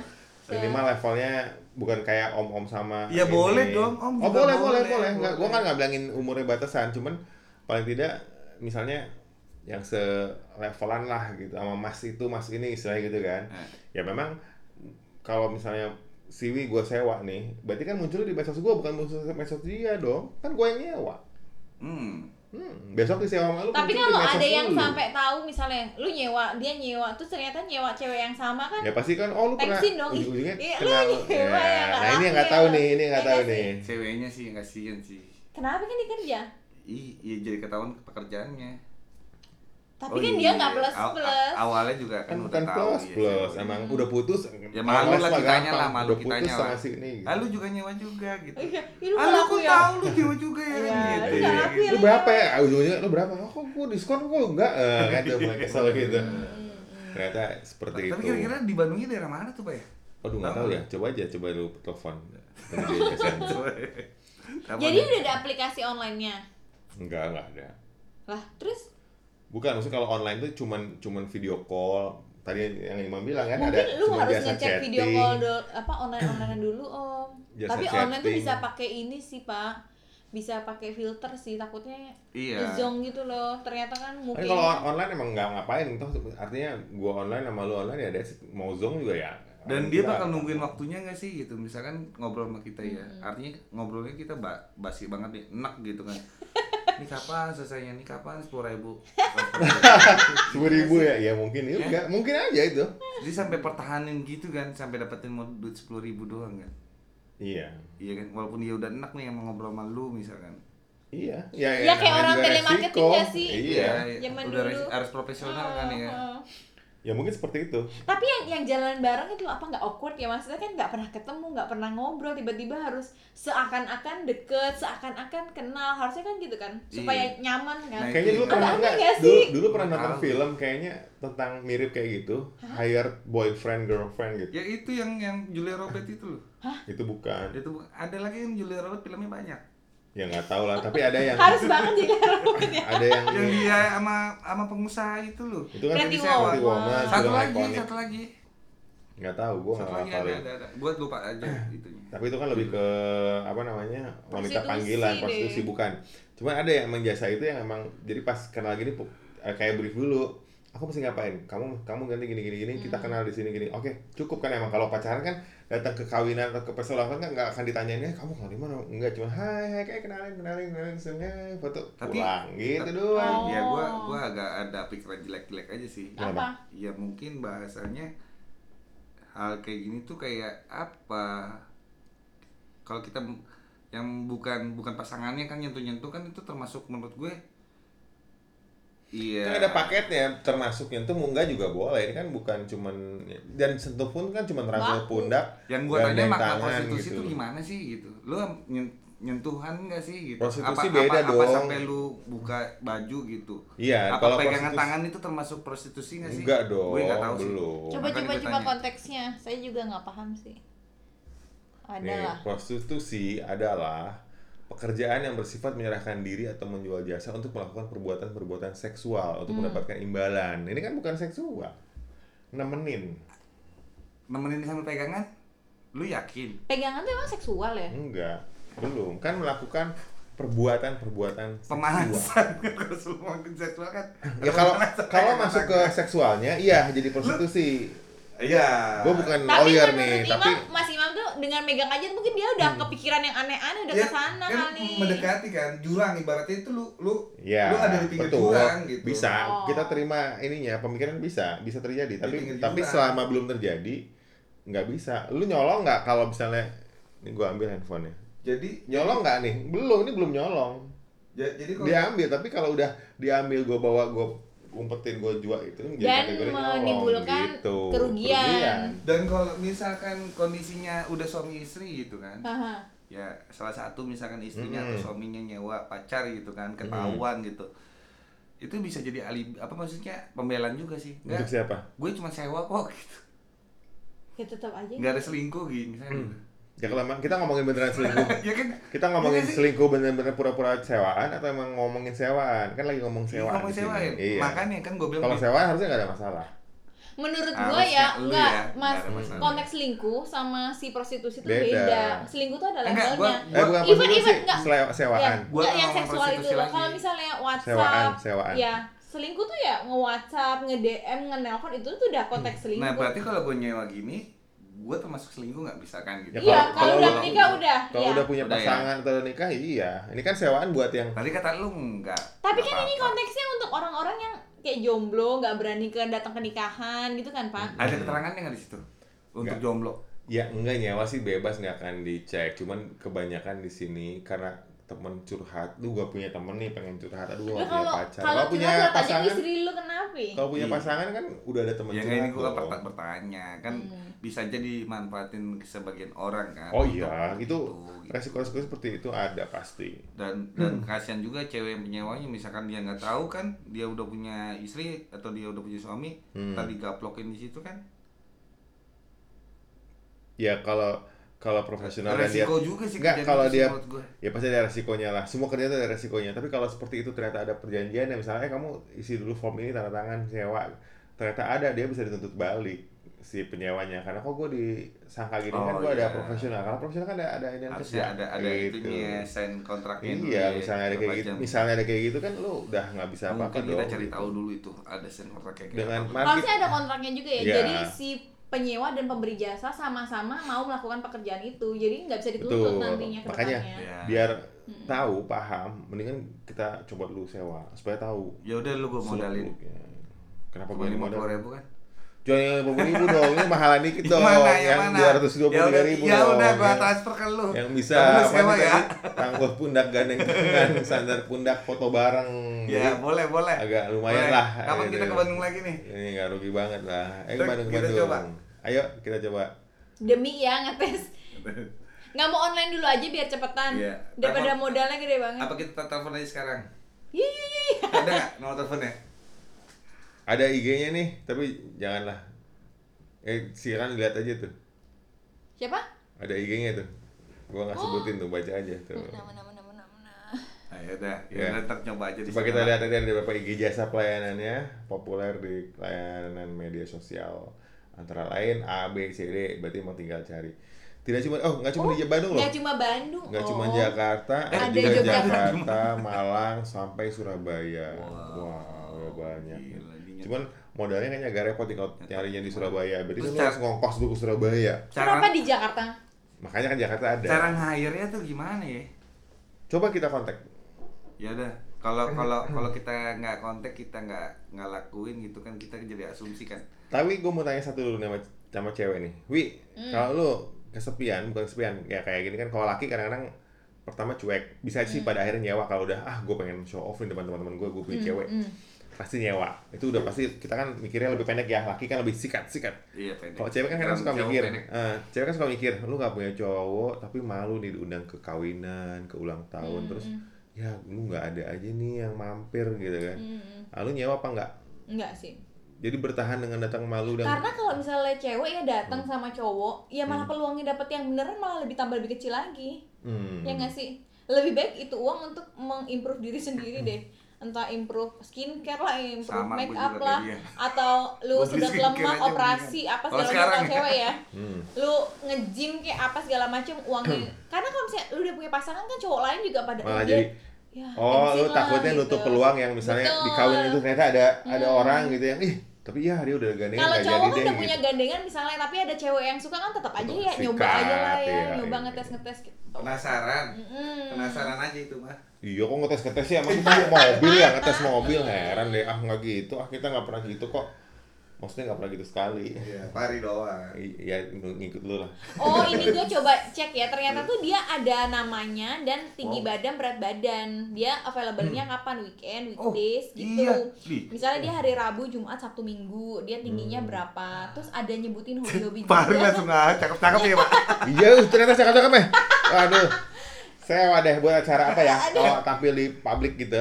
Speaker 2: minimal levelnya bukan kayak om om sama
Speaker 3: Ya,
Speaker 2: ini.
Speaker 3: boleh dong, om
Speaker 2: oh
Speaker 3: juga
Speaker 2: boleh boleh
Speaker 3: boleh,
Speaker 2: boleh nggak gua
Speaker 3: boleh.
Speaker 2: kan nggak bilangin umurnya batasan cuman paling tidak misalnya yang selevelan lah gitu sama mas itu mas ini istilahnya gitu kan
Speaker 3: Eh.
Speaker 2: ya memang kalau misalnya siwi gua sewa nih berarti kan muncul di medsos gua bukan muncul di medsos dia dong kan gua yang nyewa
Speaker 3: Hmm.
Speaker 2: hmm, besok disewa sama lu
Speaker 1: Tapi
Speaker 2: muncul di
Speaker 1: kalau
Speaker 2: medsos
Speaker 1: ada yang
Speaker 2: lu.
Speaker 1: sampai tahu misalnya lu nyewa, dia nyewa, terus ternyata nyewa cewek yang sama kan
Speaker 2: ya pasti kan oh lu pernah
Speaker 1: Tensin dong.
Speaker 2: ujung-ujungnya
Speaker 1: Iya,
Speaker 2: kenal
Speaker 1: lu
Speaker 2: Ya,
Speaker 1: nyewa ya, nggak
Speaker 2: nah ini yang nggak
Speaker 1: laku
Speaker 2: tahu
Speaker 1: ya.
Speaker 2: nih ini nggak
Speaker 1: Iya
Speaker 2: tahu
Speaker 1: nggak
Speaker 2: nih
Speaker 3: Ceweknya sih yang kasihan sih.
Speaker 1: kenapa kan dikerja?
Speaker 3: Ih, iya jadi ketahuan pekerjaannya.
Speaker 1: Tapi
Speaker 3: Oh
Speaker 1: kan dia
Speaker 3: iya.
Speaker 1: nggak plus
Speaker 3: Aw-
Speaker 1: plus.
Speaker 3: a- awalnya juga kan,
Speaker 2: kan
Speaker 3: udah
Speaker 2: bukan
Speaker 3: tahu.
Speaker 2: plus
Speaker 3: iya,
Speaker 2: plus
Speaker 3: cewek.
Speaker 2: emang udah putus
Speaker 3: Ya malu
Speaker 2: males
Speaker 3: lah
Speaker 2: mah
Speaker 3: kitanya
Speaker 2: gampang.
Speaker 3: lah, malu
Speaker 2: udah putus
Speaker 3: kitanya
Speaker 2: sama
Speaker 3: lah.
Speaker 2: si ini gitu.
Speaker 3: Ah, lu juga nyewa juga gitu.
Speaker 1: Iya, ini
Speaker 3: ah,
Speaker 1: bukan
Speaker 3: lu
Speaker 1: aku
Speaker 3: aku
Speaker 1: ya.
Speaker 3: tahu lu nyewa juga ya.
Speaker 1: Iya,
Speaker 3: gitu.
Speaker 1: lu nggak laku ya.
Speaker 2: lu berapa ya Ah, ujung-ujungnya lu berapa oh, kok gua diskon kok lu enggak Eh, kan tuh mulai kesel gitu
Speaker 1: Hmm.
Speaker 2: ternyata seperti
Speaker 3: Tapi
Speaker 2: itu
Speaker 3: kira-kira di Bandungnya daerah mana tuh, Pak ya?
Speaker 2: aduh nggak tahu ya coba aja coba lu telepon Tadi dia kasihan.
Speaker 3: Apa
Speaker 1: Jadi
Speaker 3: nih?
Speaker 1: udah ada aplikasi online-nya.
Speaker 2: enggak enggak ada
Speaker 1: Lah, terus
Speaker 2: bukan maksudnya kalau online tuh cuman cuman video call tadi yang Imam bilang kan
Speaker 1: mungkin
Speaker 2: ada
Speaker 1: lu
Speaker 2: cuman
Speaker 1: harus
Speaker 2: jasa
Speaker 1: ngecek video
Speaker 2: chatting.
Speaker 1: call dulu, apa online online dulu om.
Speaker 2: Jasa
Speaker 1: Tapi online tuh
Speaker 2: chatting.
Speaker 1: bisa pakai ini sih pak, bisa pakai filter sih takutnya
Speaker 3: Iya.
Speaker 1: zong gitu loh. Ternyata kan
Speaker 2: Tapi
Speaker 1: mungkin
Speaker 2: kalau on- online emang nggak ngapain, toh artinya gua online sama lu online ya ada mau zong juga ya.
Speaker 3: Dan dia
Speaker 2: Kita-
Speaker 3: bakal nungguin waktunya nggak sih gitu Misalkan ngobrol sama kita ya Artinya ngobrolnya kita ba basi banget nih Enak gitu kan Ini kapan selesainya? Ini kapan? Sepuluh ribu
Speaker 2: sepuluh ribu ya, ya mungkin juga, mungkin aja itu.
Speaker 3: Jadi sampai pertahanin gitu kan Sampai dapetin mau duit sepuluh ribu doang kan
Speaker 2: Iya,
Speaker 3: Iya kan, walaupun dia udah enak nih emang ngobrol sama lu misalkan.
Speaker 2: iya, ya,
Speaker 1: Ya, kayak
Speaker 2: namanya
Speaker 1: orang
Speaker 2: juga
Speaker 1: telemarketing
Speaker 2: resiko.
Speaker 1: nggak sih?
Speaker 2: Iya,
Speaker 1: Zaman
Speaker 3: Ya,
Speaker 1: dulu.
Speaker 3: udah
Speaker 1: Ah,
Speaker 3: res- harus profesional kan ya.
Speaker 1: Heeh.
Speaker 2: ya mungkin seperti itu.
Speaker 1: Tapi yang yang jalan bareng itu apa nggak awkward ya maksudnya kan nggak pernah ketemu, nggak pernah ngobrol, tiba-tiba harus seakan-akan deket, seakan-akan kenal, harusnya kan gitu kan supaya nyaman kan.
Speaker 3: Iya. Nah,
Speaker 2: Kayaknya dulu
Speaker 1: Agak
Speaker 2: pernah
Speaker 1: aneh
Speaker 2: nggak?
Speaker 1: nggak
Speaker 2: Dulu,
Speaker 1: sih?
Speaker 2: dulu pernah nonton
Speaker 3: Tahu.
Speaker 2: film kayaknya tentang mirip kayak gitu, hired boyfriend girlfriend gitu.
Speaker 3: Ya itu yang yang Julia Robert itu loh.
Speaker 2: Itu bukan,
Speaker 3: Itu bu- ada lagi yang Julia Robert filmnya banyak.
Speaker 2: ya nggak tahu lah. Tapi ada yang
Speaker 1: Harus banget jadi robot ya.
Speaker 2: ada yang
Speaker 3: Yang dia sama sama pengusaha itu loh.
Speaker 2: itu kan tadi
Speaker 1: Pretty
Speaker 2: saya
Speaker 1: Woman.
Speaker 2: Woman,
Speaker 3: Satu
Speaker 2: film
Speaker 3: lagi,
Speaker 2: ikonik.
Speaker 3: satu lagi.
Speaker 2: Nggak tahu, gua nggak
Speaker 3: Satu lagi ada
Speaker 2: ngapalin.
Speaker 3: ada ada. Gua lupa aja itunya.
Speaker 2: Tapi itu kan lebih ke apa namanya wanita
Speaker 1: Prostitusi
Speaker 2: panggilan
Speaker 1: deh.
Speaker 2: prostitusi bukan. Cuman ada yang emang jasa itu yang emang jadi pas kenal gini pu- eh, kayak brief dulu. aku mesti ngapain kamu kamu ganti gini gini gini
Speaker 1: Hmm.
Speaker 2: kita kenal di sini gini oke cukup kan emang kalau pacaran kan datang ke kawinan atau ke perselingkuhan kan nggak akan ditanyain eh kamu kenal di mana enggak cuma hai hai kayak kenalin kenalin kenalin semuanya foto
Speaker 3: Tapi-
Speaker 2: pulang gitu doang
Speaker 1: Oh.
Speaker 3: ya gua gua agak ada pikiran jelek-jelek aja sih
Speaker 1: Apa?
Speaker 3: ya mungkin bahasanya hal kayak gini tuh kayak apa kalau kita m- yang bukan bukan pasangannya kan nyentuh-nyentuh kan itu termasuk menurut gue iya
Speaker 2: Kan ada paketnya termasuk nyentuh enggak juga boleh ini kan bukan cuman dan sentuh pun kan cuman rangkul
Speaker 1: Baku.
Speaker 2: pundak
Speaker 3: yang gua tanya
Speaker 2: gandeng
Speaker 3: makna
Speaker 2: tangan
Speaker 3: prostitusi
Speaker 2: gitu.
Speaker 3: itu gimana sih gitu lu nyen- nyentuhan gak sih gitu
Speaker 2: Prostitusi beda
Speaker 3: apa,
Speaker 2: dong.
Speaker 3: sampai lu buka baju gitu
Speaker 2: Iya,
Speaker 3: apa
Speaker 2: kalau
Speaker 3: pegangan
Speaker 2: prostitusi-
Speaker 3: tangan itu termasuk prostitusi gak sih
Speaker 2: enggak dong
Speaker 3: gue nggak tahu sih
Speaker 2: belum
Speaker 1: Coba
Speaker 3: Makanya
Speaker 1: coba
Speaker 3: gue
Speaker 1: coba
Speaker 3: tanya.
Speaker 1: konteksnya. Saya juga nggak paham sih. Ada
Speaker 2: Nih,
Speaker 1: lah.
Speaker 2: prostitusi adalah pekerjaan yang bersifat menyerahkan diri atau menjual jasa untuk melakukan perbuatan-perbuatan seksual
Speaker 1: Hmm.
Speaker 2: untuk mendapatkan imbalan. Ini kan bukan seksual. Nemenin.
Speaker 3: nemenin sambil pegangan lu yakin
Speaker 1: Pegangan tuh emang seksual
Speaker 2: Hmm,
Speaker 1: ya?
Speaker 2: Enggak. Belum. Kan melakukan perbuatan-perbuatan seksual.
Speaker 3: pemanasan kalau lu mau ke seksual kan
Speaker 2: Ya kalau kalau masuk ke seksualnya, iya jadi prostitusi.
Speaker 3: iya
Speaker 2: Gue bukan
Speaker 1: Tapi
Speaker 2: lawyer
Speaker 1: menurut
Speaker 2: nih,
Speaker 1: Imam,
Speaker 2: tapi Hmm.
Speaker 1: Mas Imam tuh dengan megang aja mungkin dia udah kepikiran yang aneh-aneh udah
Speaker 2: Iya,
Speaker 3: Ya,
Speaker 1: ke sana
Speaker 3: kan
Speaker 1: kali.
Speaker 3: mendekati kan jurang ibaratnya itu lu lu
Speaker 2: ya
Speaker 3: lu ada di pinggir
Speaker 2: betul.
Speaker 3: jurang gitu
Speaker 2: Bisa.
Speaker 1: Oh.
Speaker 2: Kita terima ininya, pemikiran bisa, bisa terjadi. Tapi
Speaker 3: pinggir
Speaker 2: tapi
Speaker 3: jurang.
Speaker 2: selama belum terjadi nggak bisa. Lu nyolong nggak kalau misalnya ini gua ambil handphonenya.
Speaker 3: jadi
Speaker 2: Nyolong nggak nih? Belum, ini belum nyolong.
Speaker 3: ja- jadi kalau
Speaker 2: Diambil, tapi kalau udah diambil gua bawa gua umpetin gua jual itu jadi
Speaker 1: Dan
Speaker 2: kategori nyolong, gitu.
Speaker 1: menimbulkan kerugian.
Speaker 3: dan kalau misalkan kondisinya udah suami istri gitu kan
Speaker 1: Aha.
Speaker 3: ya salah satu misalkan istrinya
Speaker 2: Mm-mm.
Speaker 3: atau suaminya nyewa pacar gitu kan ketahuan gitu itu bisa jadi alibi apa maksudnya pembelaan juga sih
Speaker 2: Untuk
Speaker 3: enggak
Speaker 2: siapa?
Speaker 3: gue cuma sewa kok gitu
Speaker 1: Ya tetap aja.
Speaker 3: nggak ada selingkuh gitu misalnya gitu.
Speaker 2: Ya kalau emang- kita ngomongin beneran selingkuh.
Speaker 3: ya kan
Speaker 2: Kita ngomongin
Speaker 3: Iya sih.
Speaker 2: selingkuh bener-bener pura-pura sewaan atau emang ngomongin sewaan? Kan lagi ngomong sewaan.
Speaker 3: Ngomong
Speaker 2: di sini.
Speaker 3: sewain.
Speaker 2: Iya.
Speaker 3: Makanya kan gue bilang
Speaker 2: Kalau sewaan harusnya nggak ada masalah.
Speaker 1: Menurut
Speaker 3: Harusnya
Speaker 1: gua ya
Speaker 3: lu
Speaker 1: enggak
Speaker 3: ya,
Speaker 1: Mas
Speaker 3: nggak ada masalah.
Speaker 1: konteks selingkuh sama si prostitusi tuh
Speaker 2: Beda.
Speaker 1: beda. Selingkuh tuh ada
Speaker 3: Enggak, gua-
Speaker 1: levelnya.
Speaker 2: Eh bukan
Speaker 1: Even-
Speaker 2: prostitusi,
Speaker 1: even, enggak.
Speaker 2: sele- sewaan.
Speaker 1: Ya,
Speaker 3: Gua
Speaker 1: nggak
Speaker 3: kan
Speaker 1: yang
Speaker 3: ngomong
Speaker 1: seksual itu
Speaker 3: prostitusi
Speaker 1: loh.
Speaker 3: lagi.
Speaker 1: Kalau misalnya WhatsApp,
Speaker 2: Sewaan, sewaan.
Speaker 1: ya selingkuh tuh ya nge-WhatsApp, nge-DM, nge-nelpon itu tuh udah konteks selingkuh.
Speaker 3: Nah berarti kalau gue nyewa gini gue termasuk selingkuh nggak misalkan
Speaker 2: Ya,
Speaker 3: gitu
Speaker 2: kalau-
Speaker 1: iya, kalau
Speaker 2: kalau
Speaker 1: udah
Speaker 2: udah-
Speaker 1: menikah udah.
Speaker 2: Kalau
Speaker 1: iya.
Speaker 2: udah punya
Speaker 3: Udah ya.
Speaker 2: pasangan atau udah nikah, iya. Ini kan sewaan buat yang
Speaker 3: Tadi kata lu enggak
Speaker 1: Tapi kan
Speaker 3: Apa-apa.
Speaker 1: ini konteksnya untuk orang-orang yang kayak jomblo, nggak berani ke datang ke nikahan gitu kan,
Speaker 2: Hmm.
Speaker 1: Pak?
Speaker 3: Ada keterangannya nggak di situ? Untuk
Speaker 2: Nggak.
Speaker 3: jomblo
Speaker 2: ya enggak nyawa sih bebas nggak akan dicek. Cuman kebanyakan di sini karena temen curhat, lu gak punya temen nih pengen curhat, aduh
Speaker 1: Lu
Speaker 2: gak punya
Speaker 1: kalau
Speaker 2: pacar.
Speaker 1: kalau
Speaker 2: Kalau punya
Speaker 1: curhat, curhat aja ke
Speaker 2: pasangan,
Speaker 1: istri lu kenapa? ya?
Speaker 2: kalau punya
Speaker 3: Iya.
Speaker 2: pasangan kan udah ada temen
Speaker 3: Ya kan ini
Speaker 2: curhat.
Speaker 3: gue
Speaker 2: dong.
Speaker 3: bertanya Kan
Speaker 1: Hmm.
Speaker 3: bisa aja dimanfaatin ke sebagian orang kan
Speaker 2: Oh
Speaker 3: untuk-
Speaker 2: iya, itu
Speaker 3: gitu.
Speaker 2: resiko-resiko seperti itu ada pasti.
Speaker 3: dan dan
Speaker 2: Hmm.
Speaker 3: kasihan juga cewek yang penyewanya misalkan dia nggak tahu kan dia udah punya istri atau dia udah punya suami
Speaker 2: Hmm.
Speaker 3: tadi gaplokin di situ kan
Speaker 2: Ya kalau kalau profesional dan dia
Speaker 3: resiko juga sih
Speaker 2: Nggak,
Speaker 3: kejadian
Speaker 2: kalau
Speaker 3: itu sih
Speaker 2: dia-
Speaker 3: menurut gue.
Speaker 2: ya pasti ada resikonya lah semua kerja itu ada resikonya tapi kalau seperti itu ternyata ada perjanjian ya misalnya "Eh, kamu isi dulu form ini tanda tangan sewa ternyata ada dia bisa dituntut balik si penyewanya karena kok gue disangka gini kan
Speaker 3: Oh,
Speaker 2: gue ada
Speaker 3: iya.
Speaker 2: profesional karena profesional kan ada ada ini yang
Speaker 3: harusnya ada ada
Speaker 2: gitu.
Speaker 3: itunya sign kontraknya dulu
Speaker 2: iya
Speaker 3: ya,
Speaker 2: misalnya ada kayak
Speaker 3: berapa
Speaker 2: gitu
Speaker 3: jam.
Speaker 2: misalnya ada kayak gitu kan lu udah nggak bisa apa apa
Speaker 3: mungkin
Speaker 2: dong gitu.
Speaker 3: kita cari tahu dulu itu ada sign kontrak kayak
Speaker 2: dengan
Speaker 3: gitu
Speaker 2: market
Speaker 1: Harusnya ada kontraknya juga ya.
Speaker 2: Iya.
Speaker 1: Jadi si penyewa dan pemberi jasa sama-sama mau melakukan pekerjaan itu. Jadi nggak bisa dituntut
Speaker 2: Betul.
Speaker 1: nantinya ke
Speaker 2: Makanya.
Speaker 1: depannya. Hmm.
Speaker 3: ya
Speaker 2: biar tahu paham mendingan kita coba dulu sewa supaya tahu
Speaker 3: ya udah lu gue modalin
Speaker 2: seluk-beluknya. kenapa gue
Speaker 3: cuma lima
Speaker 2: modal
Speaker 3: puluh ribu kan
Speaker 2: Jangan yang puluh ribu dong, ini mahalan dikit dong.
Speaker 3: Gimana,
Speaker 2: Gitu. yang
Speaker 3: mana?
Speaker 2: dua ratus dua
Speaker 3: Ya
Speaker 2: puluh
Speaker 3: udah-
Speaker 2: ribu
Speaker 3: ya
Speaker 2: dong.
Speaker 3: udah gue
Speaker 2: Yang-
Speaker 3: transfer ke lu
Speaker 2: yang bisa
Speaker 3: Tapi lu
Speaker 2: apa
Speaker 3: sewa
Speaker 2: nih
Speaker 3: ya
Speaker 2: tadi? Tangguh pundak gandeng tangan, sandar pundak foto bareng.
Speaker 3: ya
Speaker 2: Jadi
Speaker 3: boleh boleh
Speaker 2: agak lumayan
Speaker 3: Boleh.
Speaker 2: lah.
Speaker 3: kapan
Speaker 2: gitu.
Speaker 3: kita ke Bandung lagi nih
Speaker 2: Ini nggak rugi banget lah. Eh ke
Speaker 3: Kita-
Speaker 2: Bandung ke
Speaker 3: kita
Speaker 2: Bandung.
Speaker 3: coba.
Speaker 2: Ayo kita coba.
Speaker 1: Demi ya ngetes. Nggak mau online dulu aja biar cepetan.
Speaker 3: Iya.
Speaker 1: Daripada
Speaker 3: Telepon.
Speaker 1: modalnya gede banget.
Speaker 3: apa kita telepon aja sekarang
Speaker 1: Iya, iya, iya, iya.
Speaker 3: ada nggak nomor teleponnya
Speaker 2: Ada IG-nya nih, tapi janganlah. Eh silakan lihat aja tuh.
Speaker 1: Siapa?
Speaker 2: Ada IG-nya tuh. Gua nggak sebutin tuh, baca aja tuh.
Speaker 1: Nama, nama, nama, nama, nama.
Speaker 3: Nah, ya udah, ya
Speaker 2: Ya.
Speaker 3: udah ntar coba aja di
Speaker 2: Coba
Speaker 3: sana.
Speaker 2: kita lihat nanti ada beberapa IG jasa pelayanannya populer di layanan media sosial antara lain A B C D berarti emang tinggal cari. Tidak cuma oh nggak cuma di Bandung loh.
Speaker 1: Nggak cuma Bandung.
Speaker 2: Nggak
Speaker 1: oh.
Speaker 2: cuma Jakarta, ada
Speaker 1: Ada
Speaker 2: juga
Speaker 1: Jogja.
Speaker 2: Jakarta, Malang sampai Surabaya. Wah,
Speaker 3: Wow.
Speaker 2: udah banyak.
Speaker 3: Gila, ini
Speaker 2: Cuman modalnya kayaknya agak repot nih kalau nyarinya di Surabaya. Berarti
Speaker 3: Terus
Speaker 2: lu
Speaker 3: cara-
Speaker 2: harus ngongkos dulu ke Surabaya.
Speaker 3: cara
Speaker 1: Kenapa di Jakarta?
Speaker 2: Makanya kan Jakarta ada.
Speaker 3: cara hire-nya tuh gimana ya?
Speaker 2: Coba kita kontak.
Speaker 3: Ya udah, kalau kalau kalau kita nggak kontak kita nggak nggak lakuin gitu kan kita jadi asumsi kan.
Speaker 2: Tapi gue mau tanya satu dulu sama, sama cewek nih. Wi,
Speaker 1: Hmm.
Speaker 2: kalau lu kesepian, bukan kesepian, ya kayak gini kan kalau laki kadang-kadang pertama cuek. Bisa sih pada akhirnya nyewa kalau udah ah gue pengen show off di depan teman-teman gue, gue punya cewek.
Speaker 1: Hmm. hmm.
Speaker 2: Pasti nyewa. Itu udah pasti kita kan mikirnya lebih pendek ya. Laki kan lebih sikat-sikat.
Speaker 3: Iya pendek.
Speaker 2: Kalau cewek kan kadang
Speaker 3: Dalam
Speaker 2: suka
Speaker 3: jauh
Speaker 2: mikir,
Speaker 3: pendek.
Speaker 2: eh, cewek kan suka mikir, lu gak punya cowok tapi malu nih diundang ke kawinan, ke ulang
Speaker 1: hmm,
Speaker 2: tahun, terus ya lu nggak ada aja nih yang mampir gitu kan. Lalu nyewa apa nggak?
Speaker 1: Enggak hmm, sih.
Speaker 2: Jadi bertahan dengan datang malu dan Hmm.
Speaker 1: Karena kalau misalnya cewek ya datang sama cowok, ya malah peluangnya dapet yang beneran malah lebih tambah lebih kecil lagi.
Speaker 2: Hmm.
Speaker 1: Ya nggak sih? Lebih baik itu uang untuk mengimprove diri
Speaker 2: Hmm.
Speaker 1: sendiri deh. Entah improve skincare lah, improve
Speaker 3: Sama, gua
Speaker 1: make up
Speaker 3: juga
Speaker 1: lah,
Speaker 3: kayak dia.
Speaker 1: atau lu
Speaker 3: Gua beli
Speaker 1: sudah
Speaker 3: skincare
Speaker 1: lemah
Speaker 3: aja
Speaker 1: operasi
Speaker 3: mendingan.
Speaker 1: apa
Speaker 3: Kalau
Speaker 1: segala macam
Speaker 3: sekarang
Speaker 1: kalau
Speaker 3: ya.
Speaker 1: cewek ya.
Speaker 2: Hmm.
Speaker 1: Lu nge-gym kayak apa segala macam uangnya. Karena kalau misalnya lu udah punya pasangan kan cowok lain juga pada
Speaker 2: Malah
Speaker 1: "Eh,
Speaker 2: jadi
Speaker 1: ya,
Speaker 2: Oh,
Speaker 1: gengsi
Speaker 2: lu
Speaker 1: lah,"
Speaker 2: takutnya
Speaker 1: gitu.
Speaker 2: nutup peluang yang misalnya
Speaker 1: Betul. Hmm.
Speaker 2: di kawin itu ternyata ada ada orang gitu yang ih, tapi ya dia udah gandengan
Speaker 1: Kalau
Speaker 2: nggak
Speaker 1: cowok
Speaker 2: jadi
Speaker 1: kan
Speaker 2: deh,"
Speaker 1: udah
Speaker 2: gitu.
Speaker 1: punya gandengan misalnya, tapi ada cewek yang suka kan tetap aja ya
Speaker 2: Sikat,
Speaker 1: nyoba aja lah ya,
Speaker 2: iya,
Speaker 1: nyoba
Speaker 2: iya.
Speaker 1: ngetes ngetes gitu. Mm.
Speaker 3: Penasaran,
Speaker 1: Mm-mm.
Speaker 3: penasaran aja itu mah.
Speaker 2: Iya kok ngetes ngetes sih emang kita mobil ya ngetes mobil heran deh ah nggak gitu ah kita nggak pernah gitu kok maksudnya nggak pernah gitu sekali
Speaker 3: Iya, pari doang.
Speaker 2: I- ya ng- ngikut lu lah
Speaker 1: Oh ini gue coba cek ya, ternyata tuh dia ada namanya dan tinggi
Speaker 3: Wow.
Speaker 1: badan berat badan. Dia
Speaker 2: Hmm.
Speaker 1: available-nya kapan? Weekend,
Speaker 3: Oh,
Speaker 1: weekdays gitu.
Speaker 3: iya. Di-
Speaker 1: Misalnya dia hari Rabu, Jumat, Sabtu, Minggu, dia tingginya
Speaker 2: Hmm.
Speaker 1: berapa? Terus ada nyebutin hobi-hobi
Speaker 3: Pari
Speaker 1: juga.
Speaker 3: langsung ah, cakep-cakep ya, Pak.
Speaker 2: iya uh, ternyata cakep cakep eh aduh saya wadah buat acara apa ya kalau tampil di publik gitu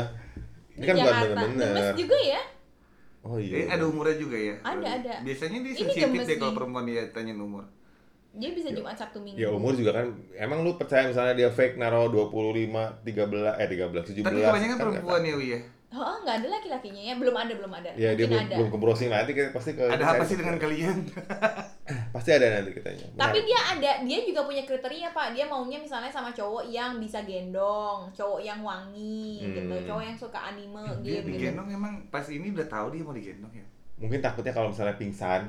Speaker 2: ini
Speaker 1: Di
Speaker 2: kan bukan
Speaker 1: Jakarta. Gemes
Speaker 2: bener-bener
Speaker 1: juga ya?
Speaker 2: oh
Speaker 3: Jadi
Speaker 2: iya
Speaker 3: ada umurnya juga ya.
Speaker 1: Ada, ada.
Speaker 3: Biasanya dia
Speaker 1: Ini
Speaker 3: sensitif
Speaker 1: gemes
Speaker 3: deh kalau
Speaker 1: nih.
Speaker 3: perempuan dia tanyain umur.
Speaker 1: Dia bisa Jumat, Sabtu, Minggu.
Speaker 2: ya umur juga kan emang lu percaya misalnya dia fake naro 25 13 eh 13 17
Speaker 3: Tapi kebanyakan
Speaker 2: kan nggak
Speaker 3: perempuan
Speaker 2: tahu.
Speaker 3: ya, Wi ya.
Speaker 1: Oh, nggak ada laki-lakinya ya? Belum ada, belum ada.
Speaker 2: ya dia
Speaker 1: Mungkin
Speaker 2: belum, belum ke browsing nanti kita pasti ke
Speaker 3: Ada apa sih dengan kalian?
Speaker 2: pasti ada nanti kitanya Nah, Menarik.
Speaker 1: Tapi dia ada, dia juga punya kriteria pak. Dia maunya misalnya sama cowok yang bisa gendong, cowok yang wangi, gitu,
Speaker 2: Hmm.
Speaker 1: cowok yang suka anime,
Speaker 3: Dia
Speaker 1: game, gitu.
Speaker 3: digendong emang pas ini udah tahu dia mau digendong ya.
Speaker 2: mungkin takutnya kalau misalnya pingsan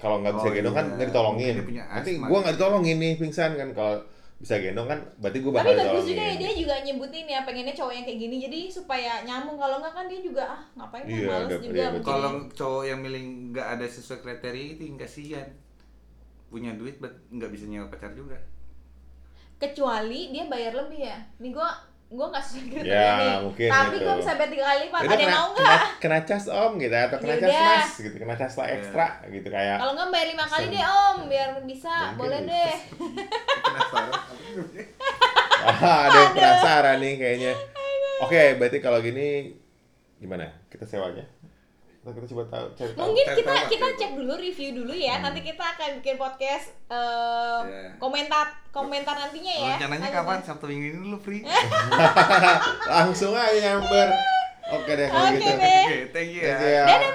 Speaker 2: kalau nggak bisa
Speaker 3: Oh,
Speaker 2: gendong kan
Speaker 3: iya.
Speaker 2: nggak ditolongin
Speaker 3: Mungkin dia punya
Speaker 2: nanti
Speaker 3: asma.
Speaker 2: gua nggak ditolongin nih pingsan kan kalau bisa gendong kan berarti gua
Speaker 1: Tapi
Speaker 2: bakal
Speaker 1: bagus
Speaker 2: ditolongin
Speaker 1: juga ya, dia juga nyebutin ya pengennya cowok yang kayak gini, jadi supaya nyambung. Kalau nggak kan dia juga ah ngapain lah,
Speaker 2: Iya,
Speaker 1: males
Speaker 2: ada-
Speaker 1: juga. gitu.
Speaker 2: iya, betul.
Speaker 1: begini.
Speaker 3: Kalau cowok yang milih nggak ada sesuai kriteria itu yang kasihan. Punya duit but nggak bisa nyewa pacar juga.
Speaker 1: kecuali dia bayar lebih ya. Nih gua gua nggak sesuai kriteria
Speaker 2: Ya,
Speaker 1: nih.
Speaker 2: mungkin
Speaker 1: Tapi
Speaker 2: gitu.
Speaker 1: gua bisa bet tiga kali pak.
Speaker 2: Itu
Speaker 1: Ada yang
Speaker 2: kena,
Speaker 1: mau
Speaker 2: kena,
Speaker 1: nggak?
Speaker 2: kena cas om gitu atau kena cas
Speaker 1: Yaudah.
Speaker 2: mas gitu kena cas lah ekstra
Speaker 3: Iya.
Speaker 2: gitu kayak
Speaker 1: Kalau nggak bayar lima kali
Speaker 2: Sen-
Speaker 1: deh om, biar bisa,
Speaker 2: Mungkin
Speaker 1: boleh
Speaker 2: bisa.
Speaker 1: deh.
Speaker 3: Penasaran.
Speaker 2: ah, ada yang penasaran nih kayaknya oke berarti kalau gini gimana kita sewanya kita, kita coba tahu cari tahu
Speaker 1: Mungkin
Speaker 3: Tahu. Hmm.
Speaker 1: kita
Speaker 3: Tahu.
Speaker 1: kita cek dulu review dulu ya. Nanti kita akan bikin podcast eh,
Speaker 3: Ya.
Speaker 1: komentar komentar nantinya ya.
Speaker 3: Rencananya
Speaker 1: Lanjut.
Speaker 3: kapan? Sabtu minggu ini lu free.
Speaker 1: Eh,
Speaker 2: langsung aja nyamber oke deh kalau
Speaker 1: Oke
Speaker 2: gitu
Speaker 1: deh.
Speaker 3: Oke, thank you
Speaker 2: Thank
Speaker 3: ya.
Speaker 2: you ya.
Speaker 1: Dadah